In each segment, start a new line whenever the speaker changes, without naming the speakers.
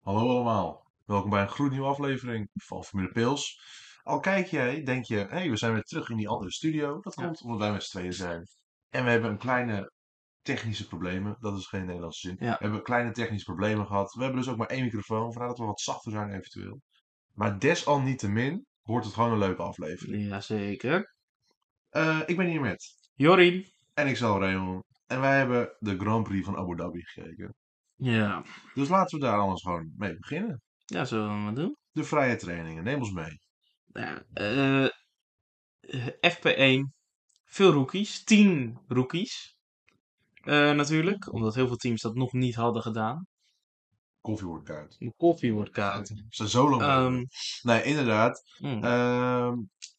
Hallo allemaal, welkom bij een gloednieuwe aflevering van Formule Pils. Al kijk jij, denk je, hé, hey, we zijn weer terug in die andere studio. Dat
Ja.
komt omdat wij met z'n tweeën zijn. En we hebben een kleine technische problemen, dat is geen Nederlandse zin.
Ja.
We hebben kleine technische problemen gehad. We hebben dus ook maar één microfoon, vandaar dat we wat zachter zijn eventueel. Maar desalniettemin wordt het gewoon een leuke aflevering.
Jazeker.
Eh, ik ben hier met,
Jorien.
en ik zal Raymond. En wij hebben de Grand Prix van Abu Dhabi gekeken.
Ja.
Dus laten we daar anders gewoon mee beginnen.
Ja, zullen we maar doen?
De vrije trainingen, neem ons mee.
Ja, eh, FP1. Veel rookies. 10 rookies. Eh, natuurlijk, omdat heel veel teams dat nog niet hadden gedaan.
Koffie wordt koud.
De koffie wordt koud.
Ze zijn zo lang.
Ehm,
bezig. nee, inderdaad.
mm,
Ehm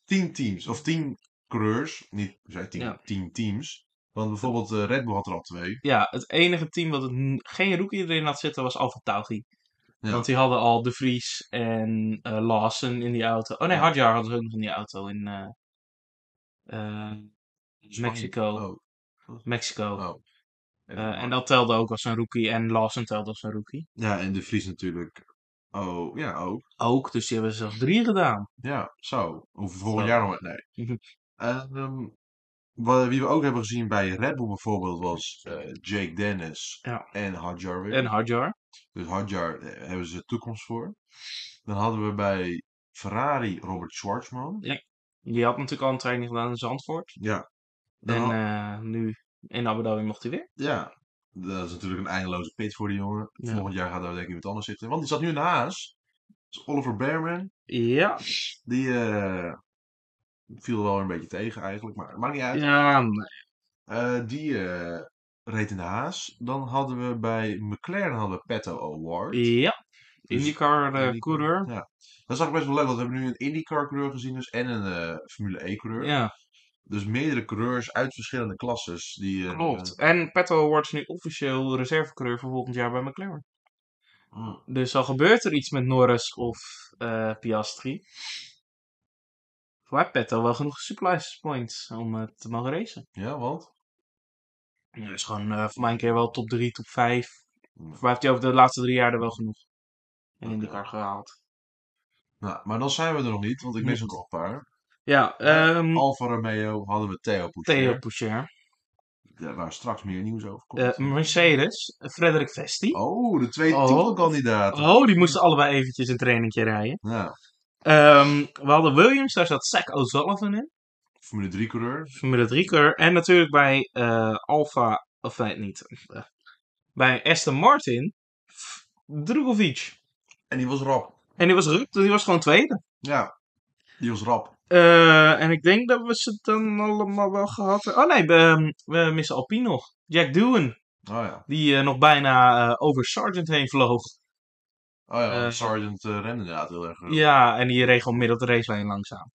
tien teams, of tien coureurs. Niet we zijn tien,
Ja.
tien teams. Want bijvoorbeeld eh, Red Bull had er al twee.
ja, het enige team wat het n- geen rookie erin had zitten was Alfa Tauri.
Ja.
Want die hadden al De Vries en eh Lawson in die auto. Oh nee,
Ja.
Hadjar hadden ze ook nog in die auto in eh, eh, Mexico.
Oh,
Mexico.
oh. En,
Eh, en dat telde ook als een rookie. En Lawson telde als een rookie.
Ja, en De Vries natuurlijk. Oh, ja, ook.
Ook, dus die hebben er zelfs drie gedaan.
Ja, zo. Hoeveel volgend
Zo.
jaar nog? maar- Nee. Ehm, wa- wie we ook hebben gezien bij Red Bull bijvoorbeeld was eh, Jake Dennis
Ja.
en Hadjar weer.
En Hadjar.
Dus Hadjar eh, hebben ze toekomst voor. Dan hadden we bij Ferrari Robert Schwarzman.
Die had natuurlijk al een training gedaan in Zandvoort.
Ja. Dan
En
had-
eh, nu in Abu Dhabi mocht hij weer.
ja. Dat is natuurlijk een eindeloze pit voor die jongen.
Ja.
Volgend jaar gaat daar denk ik iemand anders zitten. Want die zat nu in de Haas. Dus Oliver Behrman.
Ja.
Die eh, viel wel een beetje tegen eigenlijk. Maar maakt niet uit.
Ja, maar-
Eh, die eh, reed in de Haas. Dan hadden we bij McLaren hadden we Petto Award.
ja.
Dus-
IndyCar eh,
Indycar.
coureur.
Ja. Dat is eigenlijk best wel leuk. Want we hebben nu een IndyCar coureur gezien dus. En een eh, Formule E coureur.
Ja,
Dus meerdere coureurs uit verschillende klasses. Die, eh,
klopt. En Petto wordt nu officieel reservecoureur voor volgend jaar bij McLaren.
eh,
Dus al gebeurt er iets met Norris of eh, Piastri. Voor mij Petto wel genoeg supply points om eh, te mogen racen.
ja, want?
Ja, dat is gewoon eh, voor mij een keer wel top 3, top 5.
Ja.
Voor mij heeft hij over de laatste drie jaar er wel genoeg in
Oké.
de kar gehaald.
Nou, maar dan zijn we er nog niet, want ik mis
Nee.
er nog een paar.
Ja,
Ja,
ehm
Alfa Romeo hadden we Theo Poucher.
Theo Poucher.
Daar- Waar straks meer nieuws over komt.
Eh, Mercedes, eh, Frederik Vesti. Oh.
oh, de twee
Oh.
titelkandidaten.
die moesten allebei eventjes een trainingje rijden.
Ja,
Ehm, we hadden Williams, daar zat Zach O'Sullivan in.
Formule 3 coureur.
Formule 3 keur. En natuurlijk bij eh Alfa, of nee, niet. eh, bij Aston Martin, F- Drugovic.
En die was rap.
En die was, Rup, die was gewoon tweede.
Ja, die was rap.
Eh, en ik denk dat we ze dan allemaal wel gehad hebben. Oh nee, we, we missen Alpine nog. Jack Doohan,
Oh ja.
die eh, nog bijna eh, over Sargent heen vloog.
Oh ja,
Eh,
want Sergeant eh, rende inderdaad heel erg. eh,
Ja, en die reed gewoon midden op de racelijn langzaam.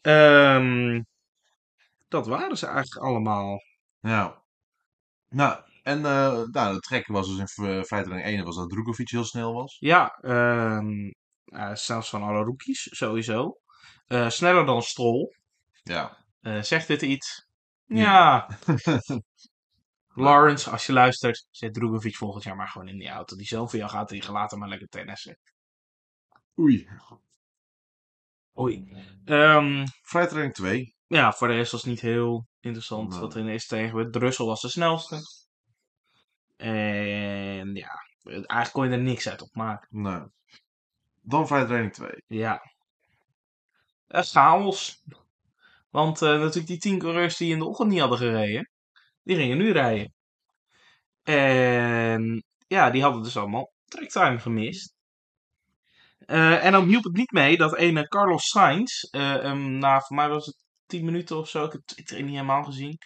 Ehm, dat waren ze eigenlijk allemaal.
Ja. Nou, en eh, nou, de trek was dus in v- vrijtraining 1 was dat Drukovic heel snel was.
Ja, ehm eh, zelfs van alle rookies, sowieso. Eh, sneller dan Stroll.
Ja.
Eh, zegt dit iets?
Ja.
Ja. Lawrence, als je luistert, zet Drugovic volgend jaar maar gewoon in die auto. Die zoon van jou gaat tegen, laat hem maar lekker tennissen.
Oei.
Oei. Ehm,
Vrijtraining 2.
ja, voor de rest was het niet heel interessant
Nee.
wat er in de eerste tegen gebeurde. Russell was de snelste. En ja, eigenlijk kon je er niks uit opmaken.
Nou. Dan vrijtraining 2.
Ja. Eh, chaos. Want eh, natuurlijk die tien coureurs die in de ochtend niet hadden gereden, die gingen nu rijden. En ja, die hadden dus allemaal tracktime gemist. Eh, en dan hielp het niet mee dat ene Carlos Sainz, eh, hem na voor mij was het 10 minuten of zo, ik heb Twitter niet helemaal gezien,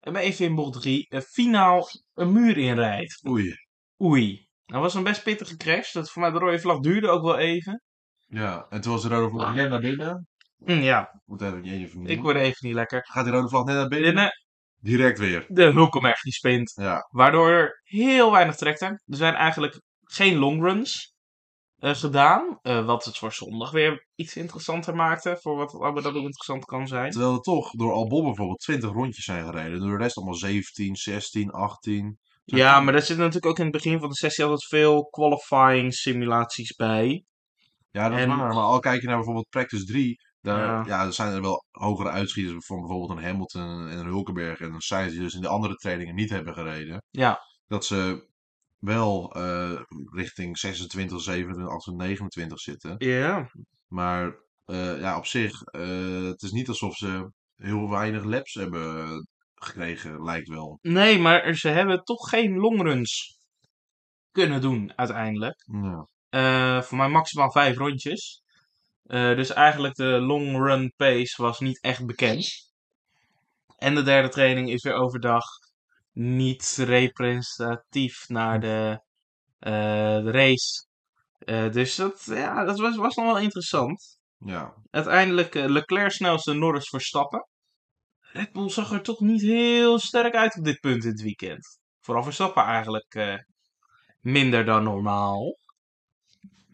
hem even in bocht 3 finaal een muur inrijdt.
Oei.
Oei. Dat was een best pittige crash. Dat voor mij de rode vlag duurde ook wel even.
Ja, en toen was de rode vlag net naar binnen.
Hm, ja,
Moet even niet eens
Ah. ik word even niet lekker.
Gaat die rode vlag net naar binnen?
Binnen
Direct weer.
de Hulkenberg die spint.
Ja.
Waardoor er heel weinig tracktime. Er zijn eigenlijk geen longruns eh, gedaan. eh, wat het voor zondag weer iets interessanter maakte. Voor wat Abu Dhabi interessant kan zijn.
Terwijl er toch door Albon bijvoorbeeld 20 rondjes zijn gereden. Door de rest allemaal 17, 16, 18.
Ja, maar daar zit natuurlijk ook in het begin van de sessie altijd veel qualifying simulaties bij.
Ja, dat
En-
is waar. Maar al kijk je naar bijvoorbeeld Practice 3. Daar
Ja.
ja. er zijn er wel hogere uitschieters van bijvoorbeeld een Hamilton en een Hulkenberg en een Sainz die dus in de andere trainingen niet hebben gereden.
Ja.
Dat ze wel eh, richting 26, 27, 28, 29 zitten.
Ja.
Maar eh, ja, op zich, eh, het is niet alsof ze heel weinig laps hebben gekregen, lijkt wel.
Nee, maar ze hebben toch geen longruns kunnen doen uiteindelijk.
Ja.
Eh, voor mij maximaal vijf rondjes. Eh, dus eigenlijk de long run pace was niet echt bekend. En de derde training is weer overdag niet representatief naar de, eh, de race. Eh, dus dat, ja, dat was, was nog wel interessant.
ja.
Uiteindelijk eh, Leclerc snelste Norris verstappen. Red Bull zag er toch niet heel sterk uit op dit punt dit weekend. Vooral Verstappen eigenlijk eh, minder dan normaal.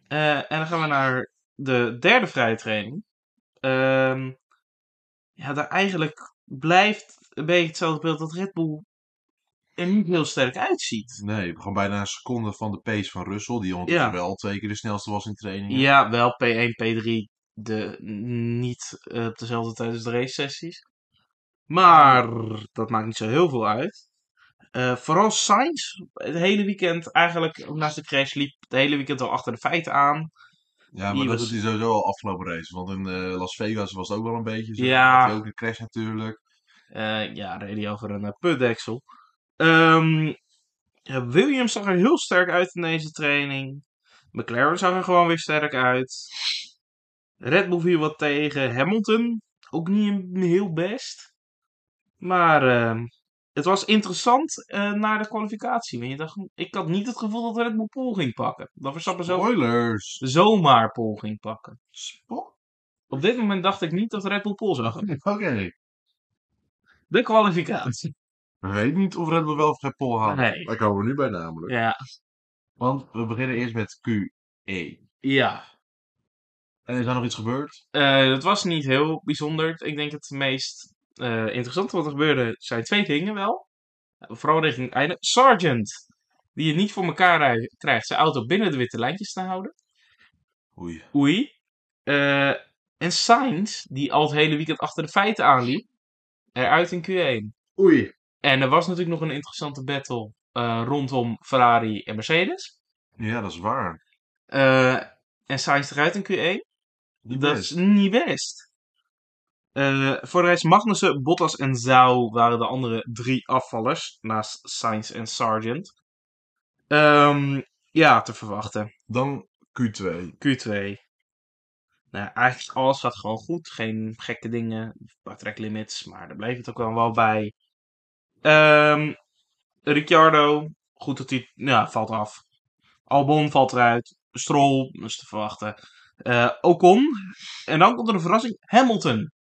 Eh, en dan gaan we naar de derde vrije training. Ehm, ja, daar eigenlijk blijft een beetje hetzelfde beeld dat Red Bull er niet heel sterk uitziet.
Nee, gewoon bijna een seconde van de pace van Russell, die ondertussen
Ja.
wel twee keer de snelste was in trainingen.
Ja, wel P1, P3. De, niet eh, op dezelfde tijd als de race sessies. Maar dat maakt niet zo heel veel uit. Eh, vooral Sainz. Het hele weekend eigenlijk, naast de crash, liep het hele weekend al achter de feiten aan.
Ja, maar
Die
dat
was-
doet hij sowieso al afgelopen race. Want in eh, Las Vegas was het ook wel een beetje zo.
Ja.
Had hij ook een crash natuurlijk.
Eh, ja, reed hij over een eh, putdeksel. Ehm, ja, Williams zag er heel sterk uit in deze training. McLaren zag er gewoon weer sterk uit. Red Bull viel wat tegen. Hamilton ook niet een- heel best. Maar ehm, het was interessant eh na de kwalificatie. Want je dacht, ik had niet het gevoel dat Red Bull Pol ging pakken. Dat Verstappen zo, Dus-
Spoilers!
zomaar Pol ging pakken.
Spo-
Op dit moment dacht ik niet dat Red Bull Pol zag.
Oké.
De kwalificatie.
We weten niet of Red Bull wel of geen pol had.
Nee.
Daar komen we nu bij namelijk.
Ja.
Want we beginnen eerst met QE.
Ja.
En is daar nog iets gebeurd?
Eh, dat was niet heel bijzonder. Ik denk het meest eh, interessante wat er gebeurde zijn twee dingen wel. Vooral richting het einde. Sergeant, die het niet voor elkaar rij- krijgt zijn auto binnen de witte lijntjes te houden.
Oei.
Oei. Eh, en Sainz, die al het hele weekend achter de feiten aanliep, eruit in Q1.
Oei.
En er was natuurlijk nog een interessante battle eh, rondom Ferrari en Mercedes.
Ja, dat is waar.
Eh, en Sainz eruit in Q1.
Niet
dat
best.
is niet best. Eh, voor de rest, Magnussen, Bottas en Zhou waren de andere drie afvallers. Naast Sainz en Sargent. Ehm, ja, te verwachten.
Dan Q2.
Q2. Nou, eigenlijk alles gaat gewoon goed. Geen gekke dingen. Een paar tracklimits, maar daar bleef het ook wel, wel bij. Ehm, Ricciardo, goed dat hij... Nou, valt af. Albon valt eruit. Stroll, dat is te verwachten. Eh, Ocon. En dan komt er een verrassing. Hamilton.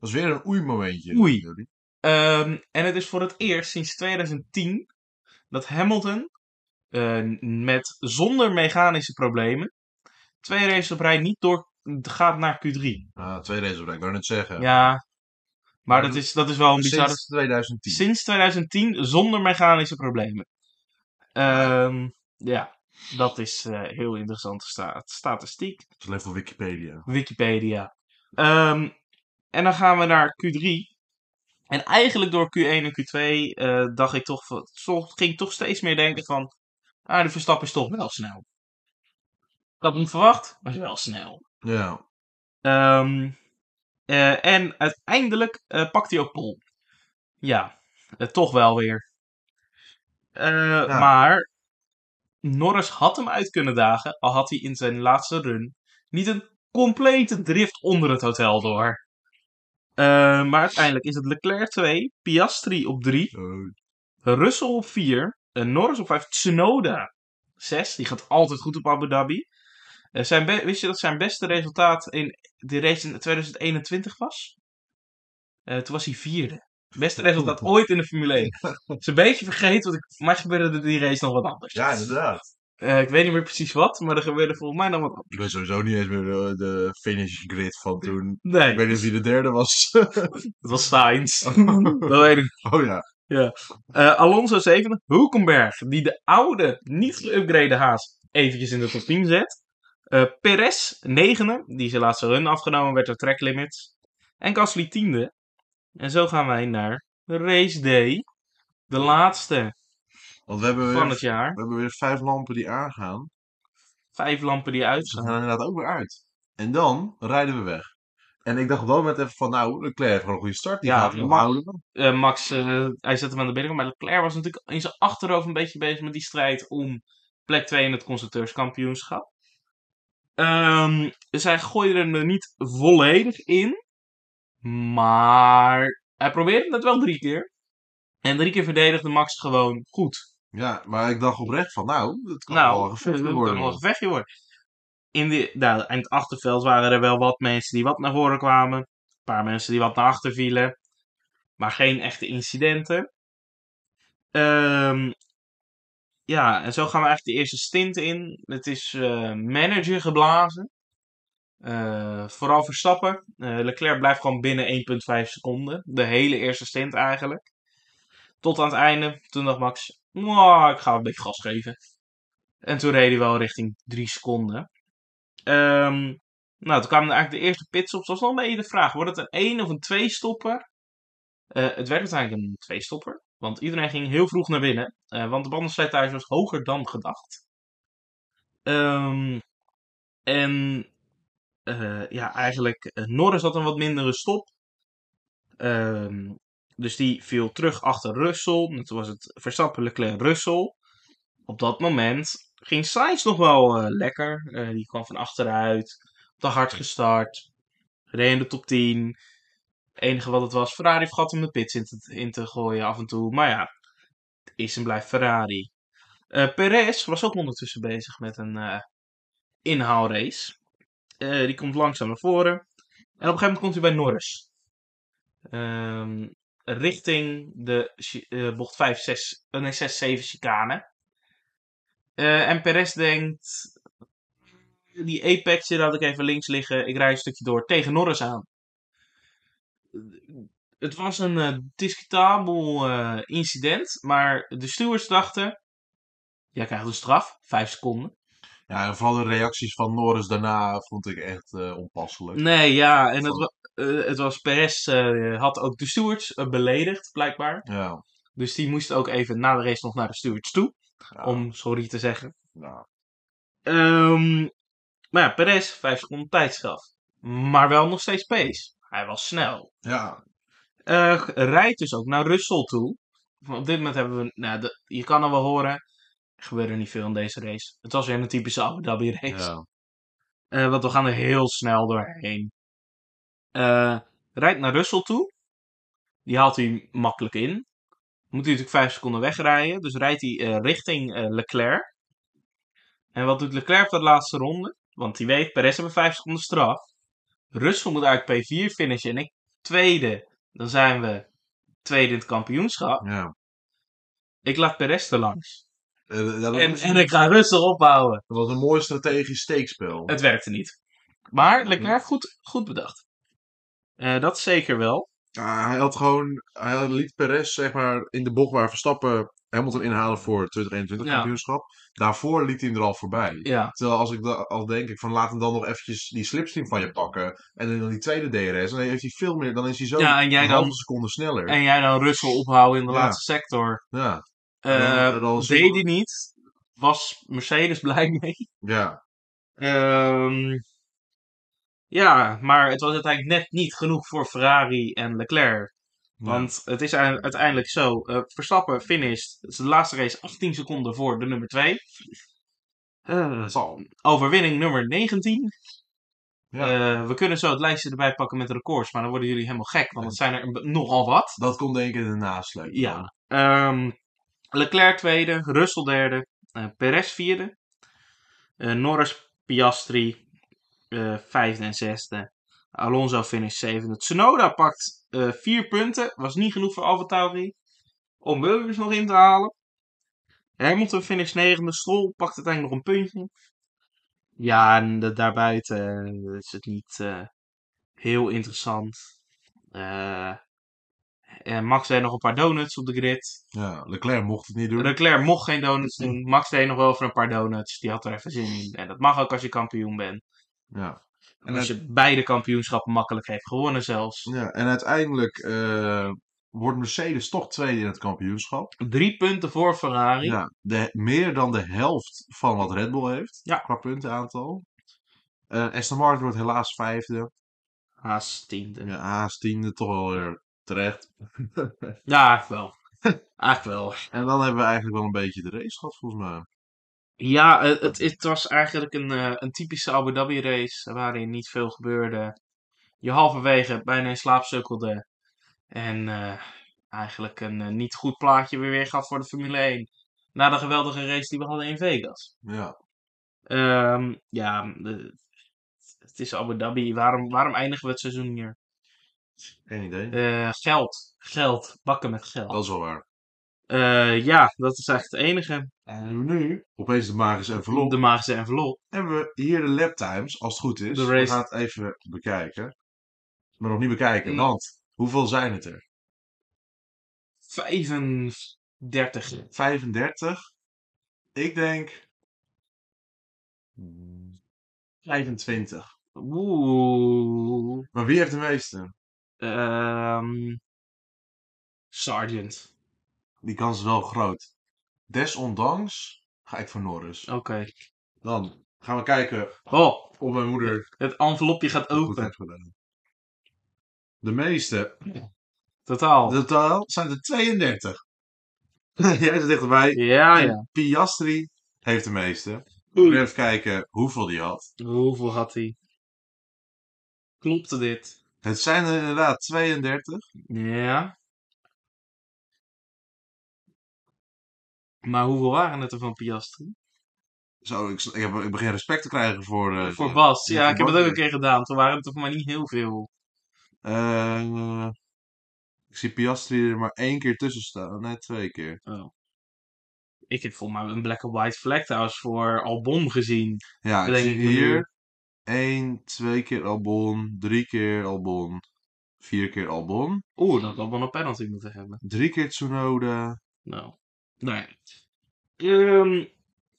Dat is weer een oei-momentje.
Oei.
Jullie.
Ehm, en het is voor het eerst sinds 2010 dat Hamilton eh, met zonder mechanische problemen twee races op rij niet door gaat naar Q3.
Ah, twee races op rij, ik wou net zeggen.
Ja, maar dat is, dat is wel een bizarre...
Sinds 2010.
Sinds 2010 zonder mechanische problemen. Ehm, ja, dat is eh, heel interessante sta- statistiek.
Dat leeft op Wikipedia.
Wikipedia. Ehm, en dan gaan we naar Q3. En eigenlijk door Q1 en Q2 eh, dacht ik toch, van- zo- ging ik toch steeds meer denken van, ah, de Verstappen is toch wel snel. Ik had het niet verwacht, maar is wel snel.
Ja.
Ehm, eh, en uiteindelijk eh, pakt hij ook Pol. Ja, eh, toch wel weer. Eh, Maar Norris had hem uit kunnen dagen, al had hij in zijn laatste run niet een complete drift onder het hotel door. Eh, maar uiteindelijk is het Leclerc 2, Piastri op 3,
Eh,
Russell op 4, eh, Norris op 5, Tsunoda 6. Die gaat altijd goed op Abu Dhabi. Eh, zijn be- wist je dat zijn beste resultaat in die race in 2021 was? Eh, toen was hij vierde. Beste resultaat ooit in de Formule 1. Het is een beetje vergeten, want ik, mij gebeurde er in die race nog wat anders.
ja, inderdaad.
Eh, ik weet niet meer precies wat, maar er gebeurde volgens mij nog wat anders.
Ik weet sowieso niet eens meer de, de finish grid van toen.
Nee,
Ik weet niet of hij de derde was.
het was Sainz. dat weet ik.
oh ja.
Eh, Alonso zevende. Hulkenberg, die de oude, niet geüpgrade Haas eventjes in de top 10 zet. Eh Perez, negende, die zijn laatste run afgenomen werd door track limits. En Gasly, tiende. En zo gaan wij naar race day. De laatste
Want we hebben,
van het
weer,
jaar.
we hebben weer vijf lampen die aangaan.
Vijf lampen die
Ze
uitgaan.
gaan inderdaad ook weer uit. En dan rijden we weg. En ik dacht op dat moment even van, nou, Leclerc heeft gewoon een goede start. Die
Ja,
gaat hem
Max-
houden.
Eh, Max, eh, hij zet hem aan de binnenkant. Maar Leclerc was natuurlijk in zijn achterhoofd een beetje bezig met die strijd om plek 2 in het constructeurskampioenschap. Ehm, dus hij gooide hem er niet volledig in. Maar hij probeerde het wel drie keer. En drie keer verdedigde Max gewoon goed.
Ja, maar ik dacht oprecht van, nou, het kan wel
Nou,
een gevecht
het
worden.
kan wel een gevechtje worden. In, de, nou, in het achterveld waren er wel wat mensen die wat naar voren kwamen. Een paar mensen die wat naar achter vielen. Maar geen echte incidenten. Ehm, ja, en zo gaan we eigenlijk de eerste stint in. Het is eh, manager geblazen. Eh, vooral Verstappen. Eh, Leclerc blijft gewoon binnen 1,5 seconden. De hele eerste stint eigenlijk. Tot aan het einde. Toen dacht Max, "Nou, ik ga een beetje gas geven. En toen reed hij wel richting drie seconden. Ehm, nou, toen kwamen eigenlijk de eerste pitstops. Dat was nog een beetje de vraag. Wordt het een één of een twee stopper? het werd uiteindelijk een twee stopper. Want iedereen ging heel vroeg naar binnen. eh, want de bandenslijtage was hoger dan gedacht. Ehm, en eh, ja, eigenlijk eh, Norris had een wat mindere stop. Ehm, dus die viel terug achter Russell. En toen was het Verstappen, Leclerc, Russell op dat moment ging Sainz nog wel eh, lekker. Eh, die kwam van achteruit. Te hard gestart. Reed in de top 10. Het enige wat het was, Ferrari vergat om de pits in te, in te gooien af en toe. Maar ja, het is en blijft Ferrari. Eh Perez was ook ondertussen bezig met een eh, inhaalrace. Eh, die komt langzaam naar voren. En op een gegeven moment komt hij bij Norris. Ehm, richting de chi- eh, bocht 5, 6, eh, nee, 6, 7 chicane. Eh, en Perez denkt. Die Apex die laat ik even links liggen. Ik rij een stukje door tegen Norris aan. Het was een eh, discutabel eh, incident. Maar de stewards dachten. Jij krijgt een straf. Vijf seconden.
Ja, en vooral de reacties van Norris daarna vond ik echt eh, onpasselijk.
Nee, ja. En het, wa- eh, het was Perez. eh, had ook de stewards eh, beledigd, blijkbaar.
Ja,
Dus die moest ook even na de race nog naar de stewards toe.
ja,
Om sorry te zeggen.
ja.
Ehm, maar ja, Perez, 5 seconden tijdstraf. Maar wel nog steeds pace. Hij was snel.
ja,
Eh, rijdt dus ook naar Russell toe. Op dit moment hebben we... Nou, de- je kan al wel horen. Er gebeurde niet veel in deze race. Het was weer een typische Abu Dhabi race.
ja.
Eh, want we gaan er heel snel doorheen. Eh, rijdt naar Russell toe. Die haalt hij makkelijk in. Moet hij natuurlijk 5 seconden wegrijden. Dus rijdt hij eh, richting eh, Leclerc. En wat doet Leclerc op de laatste ronde? Want hij weet, Perez hebben 5 seconden straf. Russell moet uit P4 finishen. En ik tweede. Dan zijn we tweede in het kampioenschap.
ja.
Ik laat Perez er langs.
Eh, ja, dat,
En,
was,
en ik ga Russell ophouden.
dat was een mooi strategisch steekspel.
Het werkte niet. Maar Leclerc goed, goed bedacht. Eh, dat zeker wel.
Ja, hij had gewoon, hij liet Perez zeg maar in de bocht waar Verstappen Hamilton inhalen voor het 2021
Ja.
kampioenschap. Daarvoor liet hij hem er al voorbij.
Ja,
Terwijl als ik da- al denk ik van laat hem dan nog eventjes die slipstream van je pakken. En dan die tweede DRS. En dan heeft hij veel meer. Dan is hij zo
Ja, en jij
een halve
dan-
seconde sneller.
en jij dan Russell ophouden in de
Ja.
laatste sector.
Ja,
Eh,
dan- dan zie je-
deed hij niet. Was Mercedes blij mee.
ja,
Ehm, ja, maar het was uiteindelijk net niet genoeg voor Ferrari en Leclerc. Want het is ui- uiteindelijk zo. eh, Verstappen finished zijn laatste race 18 seconden voor de nummer Eh, 2.
dat zal.
overwinning nummer 19.
Ja.
Eh, we kunnen zo het lijstje erbij pakken met de records, maar dan worden jullie helemaal gek, want het zijn er een- nogal wat.
Dat komt denk ik in de nasleep.
Ja. Ehm, Leclerc tweede, Russell derde, eh, Perez vierde, eh, Norris, Piastri eh, vijfde en zesde. Alonso finish zevende. Tsunoda pakt eh, vier punten, was niet genoeg voor AlphaTauri om Williams nog in te halen. Hamilton finish negende, Stroll pakt uiteindelijk nog een puntje. Ja, en da- daarbuiten eh, is het niet eh, heel interessant. Eh, En Max deed nog een paar donuts op de grid.
Ja, Leclerc mocht het niet doen.
Leclerc mocht geen donuts doen. Max deed nog wel even een paar donuts. Die had er even zin in. En dat mag ook als je kampioen bent.
Ja.
En
En
als je beide kampioenschappen makkelijk heeft gewonnen zelfs.
ja. En uiteindelijk eh, wordt Mercedes toch tweede in het kampioenschap.
Drie punten voor Ferrari.
Ja, de, meer dan de helft van wat Red Bull heeft.
Ja.
Qua puntenaantal. Eh Aston Martin wordt helaas vijfde.
Haas Ah, tiende.
Ja, Haas tiende, toch wel weer terecht.
Ja, eigenlijk wel. eigenlijk wel.
En dan hebben we eigenlijk wel een beetje de race gehad, volgens mij.
Ja, eh, het, het was eigenlijk een, eh, een typische Abu Dhabi race waarin niet veel gebeurde. Je halverwege bijna in slaap sukkelde. En eh, eigenlijk een eh, niet goed plaatje weer weer gaf voor de Formule 1. Na de geweldige race die we hadden in Vegas.
Ja.
Ehm, ja, de- het is Abu Dhabi. Waarom, waarom eindigen we het seizoen hier?
Geen idee.
Eh, geld, geld, bakken met geld.
Dat is wel waar.
Eh, ja, dat is eigenlijk het enige.
En nu? Opeens de magische envelop.
De magische envelop.
Hebben we hier de laptimes, als het goed is.
De race.
We gaan het even bekijken. Maar nog niet bekijken,
Mm.
want hoeveel zijn het er?
35.
35. Ik denk... 25.
Oeh.
Maar wie heeft de meeste?
Ehm Sergeant.
Die kans is wel groot. Desondanks ga ik voor Norris.
Oké.
Dan gaan we kijken
Oh,
of mijn moeder
het envelopje gaat
het goed
open.
heeft gedaan. De meeste
Totaal.
In totaal zijn er 32. Jij zit dichterbij.
Ja, ja.
Piastri heeft de meeste. We gaan
Oei.
even kijken hoeveel die had.
Hoeveel had hij? Klopte dit?
Het zijn er inderdaad 32.
Ja. Maar hoeveel waren het er van Piastri?
Zo, ik, ik, heb, ik begin respect te krijgen voor... eh,
Voor Bas.
ja,
Ja,
voor
ik heb het
Bas
ook
weer.
een keer gedaan. Toen waren het toch maar niet heel veel.
Eh, ik zie Piastri er maar één keer tussen staan. Nee, twee keer.
Ik heb volgens mij een black and white flag trouwens voor Albon gezien.
Ja, ik
Denk
zie
ik nu.
hier... één, twee keer Albon. Drie keer Albon. Vier keer Albon.
Oeh, dat had Albon een penalty moeten hebben.
Drie keer Tsunoda.
Nou, nou ja. Ehm,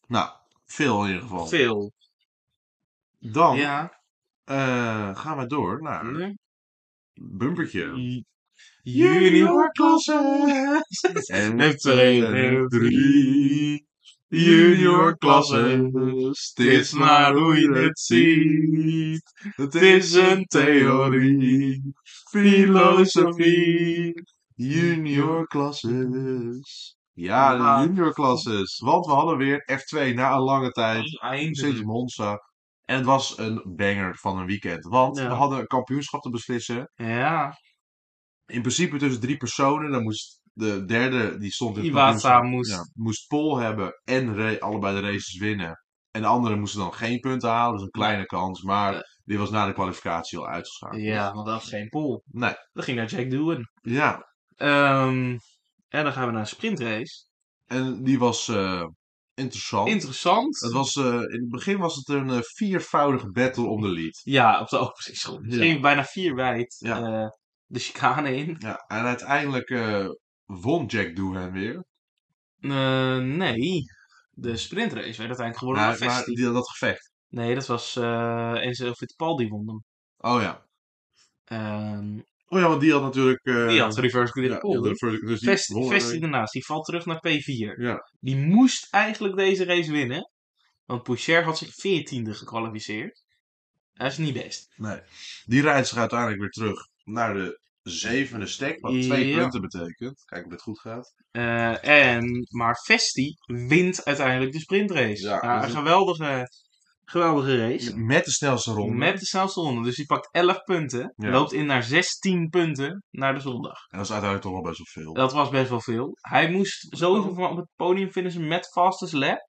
Nou, veel in ieder geval.
veel.
Dan...
Ja.
Eh, gaan we door naar een
Nee.
bumpertje.
J- Junior
klasse! En eh,
Met twee en drie. Junior klasse.
Het
Het is maar hoe je het ziet.
Het
Het is een theorie. Filosofie.
Junior klasses. Ja,
Ja.
de junior klasses. Want we hadden weer F2 na een lange tijd. Sinds
Eindelijk.
Monza. En het was een banger van een weekend. Want
Ja.
we hadden een kampioenschap te beslissen.
Ja.
in principe tussen drie personen. Dan moest de derde, die stond in het
Iwata
kampioenschap,
moest-
moest pol hebben en ra- allebei de races winnen. En de anderen moesten dan geen punten halen. Dus een kleine kans. Maar
Ja.
die was na de kwalificatie al uitgeschakeld.
Ja, want dat was geen pool.
Nee.
Dat ging naar Jack Doohan.
Ja.
Ehm, en dan gaan we naar een sprintrace.
En die was eh, interessant.
Interessant.
het was, eh, in het begin was het een eh, viervoudige battle om de lead.
Ja, op de openingsschool. Het
Ja.
ging bijna vier wijd
Ja.
eh, de chicane in.
Ja, en uiteindelijk eh, won Jack Doohan weer.
Eh, nee, de sprintrace werd uiteindelijk gewonnen
Nou,
door
maar
Vesti.
die, dat gevecht.
Nee, dat was eh Enzo Fittipaldi won hem.
Oh ja.
Ehm,
Oh ja, want die had natuurlijk... eh,
die had reverse grid
ja,
pole.
die had
hè?
de- dus die
Vesti,
won-
Vesti daarnaast, die valt terug naar P4.
Ja.
Die moest eigenlijk deze race winnen. Want Poucher had zich 14e gekwalificeerd. Dat is niet best.
Nee. Die rijdt zich uiteindelijk weer terug naar de zevende stek, wat twee
Ja.
punten betekent. Kijk of dit goed gaat.
Eh, en, maar Vesti wint uiteindelijk de sprintrace.
Ja, dus
Ja,
dat
een
is-
geweldige, geweldige race.
Met de snelste ronde.
Met de snelste ronde. Dus die pakt 11 punten.
Ja.
Loopt in naar 16 punten naar de zondag.
En dat is uiteindelijk toch wel best wel veel.
Dat was best wel veel. Hij moest sowieso van op het podium finishen met fastest lap.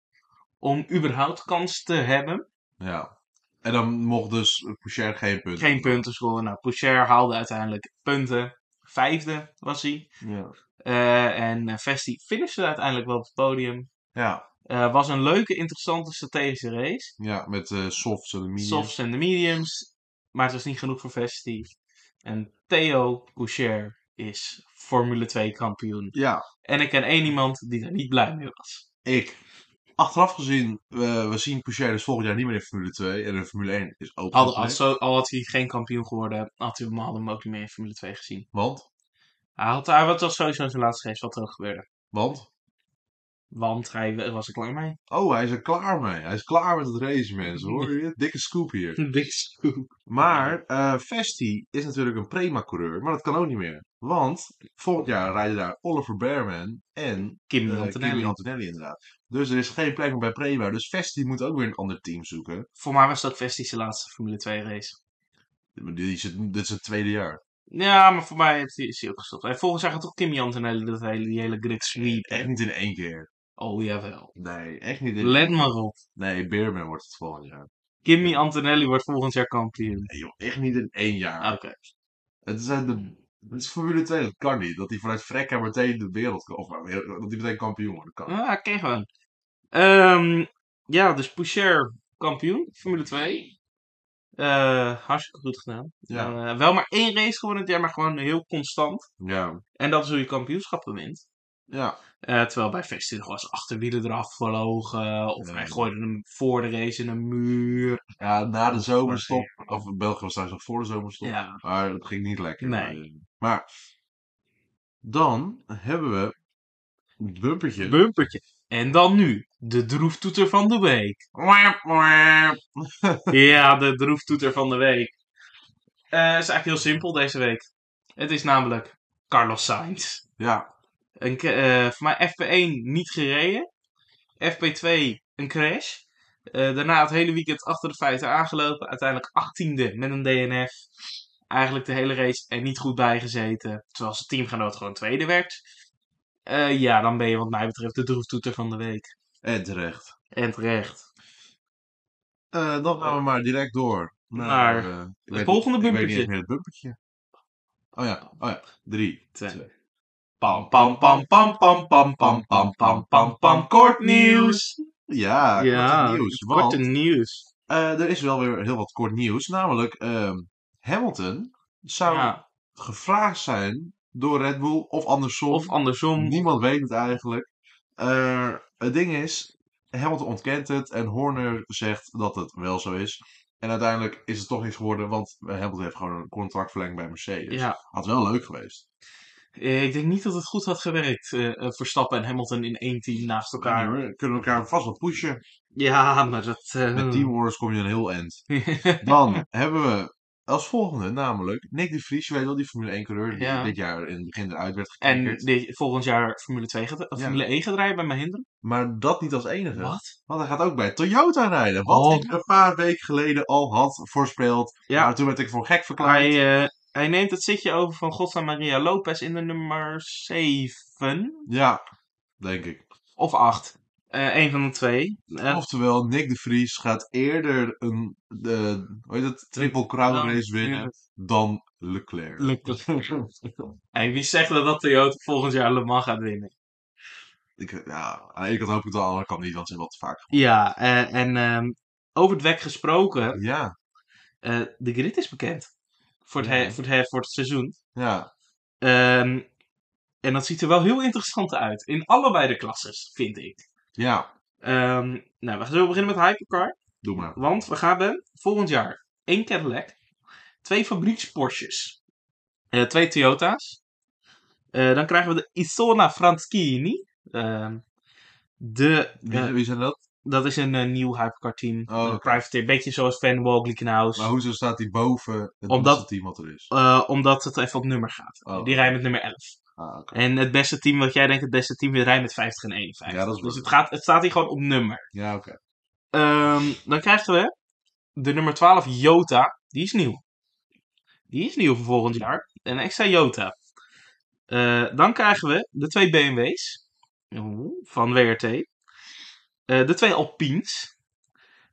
Om überhaupt kans te hebben.
Ja. En dan mocht dus Poucher geen punten.
Geen punten scoren. Nou, Poucher haalde uiteindelijk punten. Vijfde was hij.
Ja.
Eh, en eh, Vesti finishte uiteindelijk wel op het podium.
Ja,
Eh, was een leuke, interessante strategische race.
ja met eh, softs en de mediums.
softs en de mediums. Maar het was niet genoeg voor Vesti. En Theo Coucher is Formule 2 kampioen.
Ja,
En ik ken één iemand die daar niet blij mee was.
ik. Achteraf gezien, we, we zien Poucher dus volgend jaar niet meer in Formule 2. En in Formule 1 is ook
Al,
goed,
al,
hè?
zo, al had hij geen kampioen geworden, had hij, hadden we hem ook niet meer in Formule 2 gezien.
Want?
Hij had, hij was sowieso zijn laatste race wat er ook gebeurde.
Want?
Want hij was er klaar mee.
Oh, hij is er klaar mee. Hij is klaar met het racen, mensen. Hoor je dit? Dikke scoop hier.
Big scoop.
Maar eh Vesti is natuurlijk een prima-coureur. Maar dat kan ook niet meer. Want volgend jaar rijden daar Oliver Bearman en
Kim
eh, Kimi
Antonelli.
Antonelli inderdaad. Dus er is geen plek meer bij Prema. Dus Vesti moet ook weer een ander team zoeken.
Voor mij was het ook Vesti's laatste Formule 2 race.
Die zit, dit is het tweede jaar.
Ja, maar voor mij heeft hij- is hij ook gestopt. En volgens mij gaat toch Kimmy Antonelli dat hele, die hele grid sweep.
Echt niet in één keer.
Eh, Oh jawel.
Nee, echt niet in...
Let maar op.
Nee, Bearman wordt het volgend jaar.
Kimmy Antonelli wordt volgend jaar kampioen.
Nee joh, echt niet in één jaar.
Ah, Oké.
Het is, uit de, het is Formule 2, dat kan niet. Dat hij vanuit Frekka meteen de wereld... Of maar, dat hij meteen kampioen wordt, dat kan niet.
Ah, oké gewoon. Ehm, ja, dus Poucher kampioen, Formule 2. Eh, hartstikke goed gedaan.
Ja.
En, eh, wel maar één race gewonnen dit jaar, maar gewoon heel constant.
Ja.
En dat is hoe je kampioenschappen wint.
Ja.
Eh, terwijl bij Vesti nog wel eens achterwielen eraf vlogen. Of
Ja.
hij gooide hem voor de race in een muur.
ja, na de zomerstop...
Maar-
Of België was trouwens nog voor de zomerstop.
Ja.
Maar het ging niet lekker.
Nee.
Maar, maar dan hebben we het bumpertje.
Bumpertje. En dan nu, de droeftoeter van de week.
Mwah, mwah.
ja, de droeftoeter van de week. Eh, is eigenlijk heel simpel deze week. Het is namelijk Carlos Sainz.
Ja,
Een, ke- eh, voor mij FP1 niet gereden. FP2 een crash. Eh, daarna het hele weekend achter de feiten aangelopen. Uiteindelijk 18e met een DNF. Eigenlijk de hele race er niet goed bij gezeten. Terwijl zijn teamgenoot gewoon tweede werd. Eh, ja, dan ben je wat mij betreft de droeftoeter van de week.
en terecht.
En terecht.
Eh, dan gaan we maar direct door.
Naar
eh, ik
het volgende
Ik weet niet
bumpertje.
eens meer het bumpertje. Oh ja, oh ja. Drie,
Twee.
twee.
Pam, pam, pam, pam, pam, pam, pam, pam, pam, pam, pam. Kort nieuws!
Ja, ja kort nieuws. Want
korte nieuws.
eh, er is wel weer heel wat kort nieuws. Namelijk, ehm, Hamilton zou
Ja,
gevraagd zijn door Red Bull of andersom.
of andersom.
Niemand weet het eigenlijk. Eh, het ding is, Hamilton ontkent het en Horner zegt dat het wel zo is. En uiteindelijk is het toch niks geworden, want Hamilton heeft gewoon een contract verlengd bij Mercedes.
Ja,
Had wel leuk geweest.
Eh, Ik denk niet dat het goed had gewerkt. eh eh, Verstappen en Hamilton in één team naast elkaar.
Kunnen we kunnen elkaar vast wat pushen.
Ja, maar dat. eh,
Met teamorders kom je een heel end. Dan hebben we als volgende namelijk Nick de Vries. Je weet wel, die Formule 1 coureur die
Ja.
dit jaar in het begin eruit werd
en
geknikkerd.
die, volgend jaar Formule, 2 gaat, of
Ja.
Formule 1 gaat rijden bij Mahindra.
Maar dat niet als enige.
Wat?
Want hij gaat ook bij Toyota rijden. Wat
Oh.
ik een paar weken geleden al had voorspeld.
Ja.
Maar toen werd ik voor gek verklaard.
Hij, eh, hij neemt het zitje over van Godsa Maria Lopez in de nummer 7
Ja, denk ik.
of 8. Eén van de twee. Eh,
Oftewel, Nick de Vries gaat eerder een eh, hoe heet het, triple crown
Dan-
race winnen dan Leclerc.
en wie zegt dat dat Toyota volgend jaar Le Mans gaat winnen?
ik, ja, aan de ene kant hoop ik het, aan de andere kant niet, want ze hebben wat te vaak.
Ja, eh, en ehm, over het weg gesproken.
Ja,
eh, de grid is bekend. Voor het,
Ja.
he- voor het, he- voor het seizoen.
ja.
Ehm, en dat ziet er wel heel interessant uit. In allebei de klasses, vind ik.
Ja,
Ehm, nou, we gaan zo beginnen met Hypercar.
doe maar.
Want we gaan volgend jaar één Cadillac, twee fabrieksporsjes, eh, twee Toyota's. Eh, dan krijgen we de Isona Franschini. Ehm, de,
Wie,
eh,
wie zijn dat?
dat is een eh, nieuw Hypercar team.
Oh,
een
oké.
privateer, beetje zoals Van Walk, Liekenhuis.
Maar hoezo staat hij boven het
Omdat-
beste team wat er is?
Eh, omdat het even op nummer gaat.
Oh.
Die rijden met nummer 11.
Ah, oké.
En het beste team wat jij denkt, het beste team, weer rijdt met 50 en 51.
Ja, dat is waar.
dus het, gaat, het staat hier gewoon op nummer.
Ja, oké.
Ehm, dan krijgen we de nummer 12, Jota. Die is nieuw. Die is nieuw voor volgend jaar. Een extra Jota. Eh, dan krijgen we de twee BMW's Oeh, van WRT. Eh, de twee Alpines.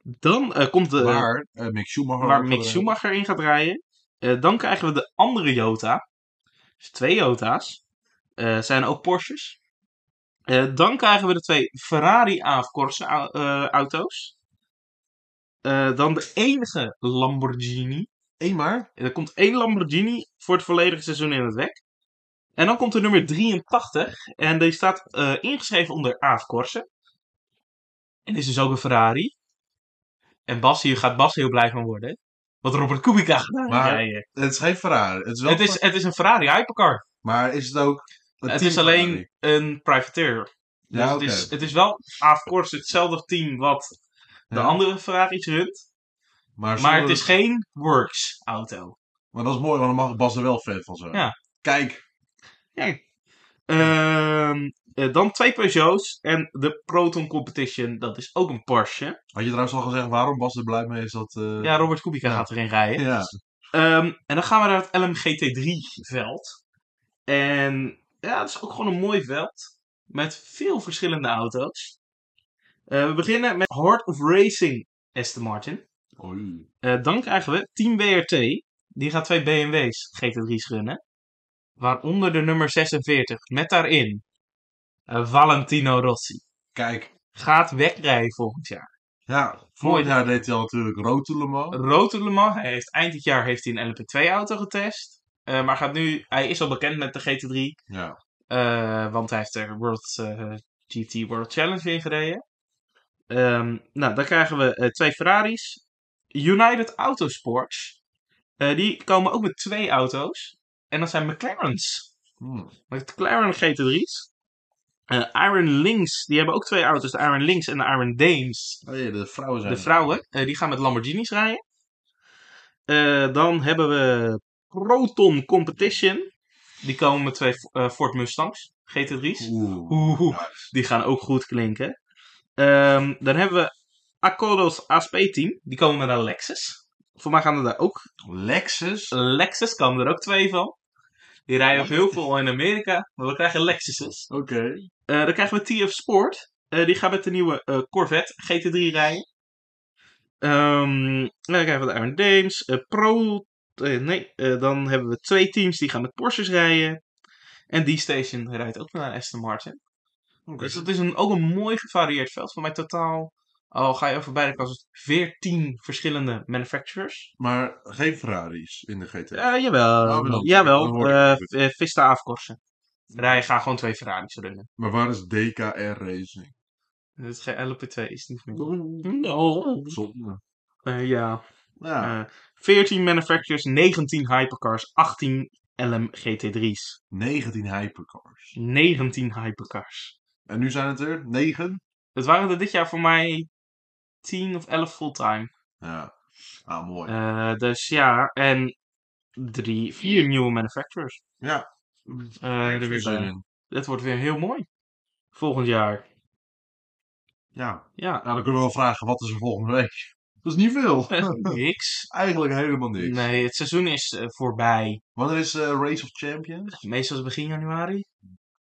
Dan eh, komt de, waar,
waar eh, Mick Schumacher. ook
Mick
gaat
Schumacher in gaat rijden. Eh, dan krijgen we de andere Jota. Dus twee Jota's. Eh, zijn ook Porsches. Eh, dan krijgen we de twee Ferrari AFCorse auto's. Eh, dan de enige Lamborghini.
rijden. Eén maar?
Er komt één Lamborghini voor het volledige seizoen in het WEC. En dan komt de nummer 83. En die staat eh, ingeschreven onder Aaf Korsen. En is dus ook een Ferrari. En Bas, hier gaat Bas heel blij van worden. Wat Robert Kubica gedaan heeft.
Maar-
Ja, ja.
Het is geen Ferrari. Het is wel
Het is, het is een Ferrari hypercar.
Maar is het ook... een
Het
team
is alleen
Ferrari?
een privateer. Dus
Ja,
het,
oké.
is, het is wel Aaf Korsen, hetzelfde team wat de
Ja.
andere Ferraris runt.
Maar,
Maar
zonder-
het is geen Works auto.
maar dat is mooi, want dan mag Bas er wel fan van zijn.
Ja.
Kijk.
Ehm, eh, dan twee Peugeots en de Proton Competition. Dat is ook een Porsche.
Had je trouwens al gezegd waarom Bas er blij mee is dat... eh,
Ja, Robert Kubica
ja.
gaat erin rijden.
ja.
Ehm, en dan gaan we naar het LMGT3-veld. En ja, het is ook gewoon een mooi veld. Met veel verschillende auto's. Eh, we beginnen met Heart of Racing Aston Martin.
Oei.
Eh, dan krijgen we Team BRT. Die gaat twee BMW's GT3's runnen. Waaronder de nummer 46. Met daarin eh, Valentino Rossi.
Kijk.
Gaat wegrijden volgend jaar.
Ja,
Mooi.
vorig jaar deed hij al natuurlijk rood to Le Mans.
Roter Le Mans, hij heeft eind dit jaar heeft hij een LMP2-auto getest. Eh, maar gaat nu, hij is al bekend met de GT3.
Ja.
Eh, want hij heeft er World, eh, GT World Challenge in gereden. Ehm, nou, dan krijgen we eh, twee Ferraris. United Autosports. Eh, die komen ook met twee auto's. En dat zijn McLaren's.
Hm.
McLaren GT3's. Eh, Iron Links, die hebben ook twee auto's. De Iron Links en de Iron Dames.
Hey, de vrouwen zijn
De
er.
vrouwen, eh, die gaan met Lamborghinis rijden. Eh, dan hebben we Proton Competition. Die komen met twee eh, Ford Mustangs, GT3's.
Oeh.
Oeh, die gaan ook goed klinken. Ehm, dan hebben we Accordos ASP-team. Die komen met een Lexus. Voor mij gaan er daar ook.
Lexus?
Lexus komen er ook twee van. Die rijden ook heel veel in Amerika. Maar we krijgen Lexuses.
Oké.
Eh, dan krijgen we TF Sport. Eh, die gaat met de nieuwe eh, Corvette GT3 rijden. Ehm, dan krijgen we de Iron Dames. eh, Pro... eh, nee, eh, dan hebben we twee teams die gaan met Porsches rijden. En D-Station rijdt ook naar Aston Martin.
Oké.
Dus dat is een, ook een mooi gevarieerd veld. Voor mij totaal, al ga je over beide kanten, 14 verschillende manufacturers.
Maar geen Ferraris in de GT.
Ja, Eh, jawel.
Nou, wel. Dan
Jawel.
hoor ik
eh,
het.
eh, Vista afkorsen. Rijden gaan gewoon twee Ferraris runnen.
Maar waar is DKR Racing?
Het is geen LP2 is niet meer. No.
Zonde.
Eh, ja.
Ja,
Eh, 14 manufacturers, 19 hypercars, 18 LM GT3's.
19 hypercars.
19 hypercars.
En nu zijn het er 9?
Het waren er dit jaar voor mij 10 of 11 fulltime.
Ja. Ah, mooi.
Eh, dus ja, en drie, vier nieuwe manufacturers.
Ja.
Eh, er weer
Zin
bij.
in.
Dat wordt weer heel mooi. Volgend jaar.
Ja.
Ja. Eh,
Nou, dan kunnen we wel vragen, wat is er volgende week? Dat is niet veel.
Niks.
Eigenlijk helemaal niks.
Nee, het seizoen is eh, voorbij.
Wanneer is eh, Race of Champions?
Meestal is het begin januari.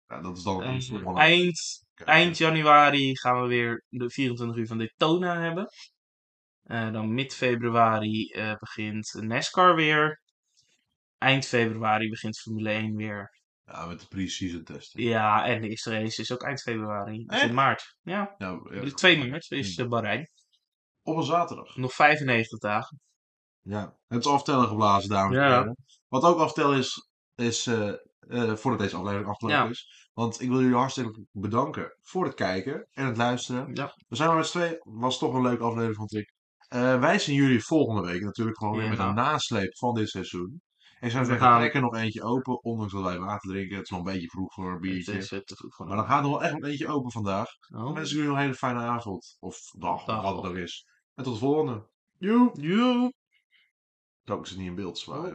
Ja, Oh, dat is dan
Eh,
is nog wel een-
eind, eind januari gaan we weer de 24 uur van Daytona hebben. Eh, dan mid februari eh, begint NASCAR weer. Eind februari begint Formule 1 weer.
Ja, met de pre-season testen.
Ja, en de eerste race is ook eind februari. Dus
Echt?
in maart. Ja.
Ja, Nou, Hmm. ja.
De 2 maart is eh, Bahrein.
Op een zaterdag.
Nog 95 dagen.
Ja. Het is aftellen geblazen, dames en
Ja.
heren. Wat ook aftellen is, is eh, eh, voordat deze aflevering afgelopen
Ja.
is. Want ik wil jullie hartstikke bedanken voor het kijken en het luisteren.
Ja.
We zijn maar met z'n tweeën. Was toch een leuke aflevering, vond ik. Eh, wij zien jullie volgende week natuurlijk gewoon weer
Ja.
met een nasleep van dit seizoen. En zijn
We
we
gaan-
trekken nog eentje open, ondanks dat wij water drinken. Het is nog een beetje vroeg voor een
Het
biertje.
is eh, te vroeg voor
Maar dan gaat er wel echt een eentje open vandaag.
Oh.
Dan wens ik jullie nog een hele fijne avond. Of dag,
Dag.
wat het ook is. En tot de volgende. Joe.
Joe.
Zo, ik zit niet in beeld, zwaar.
Oh.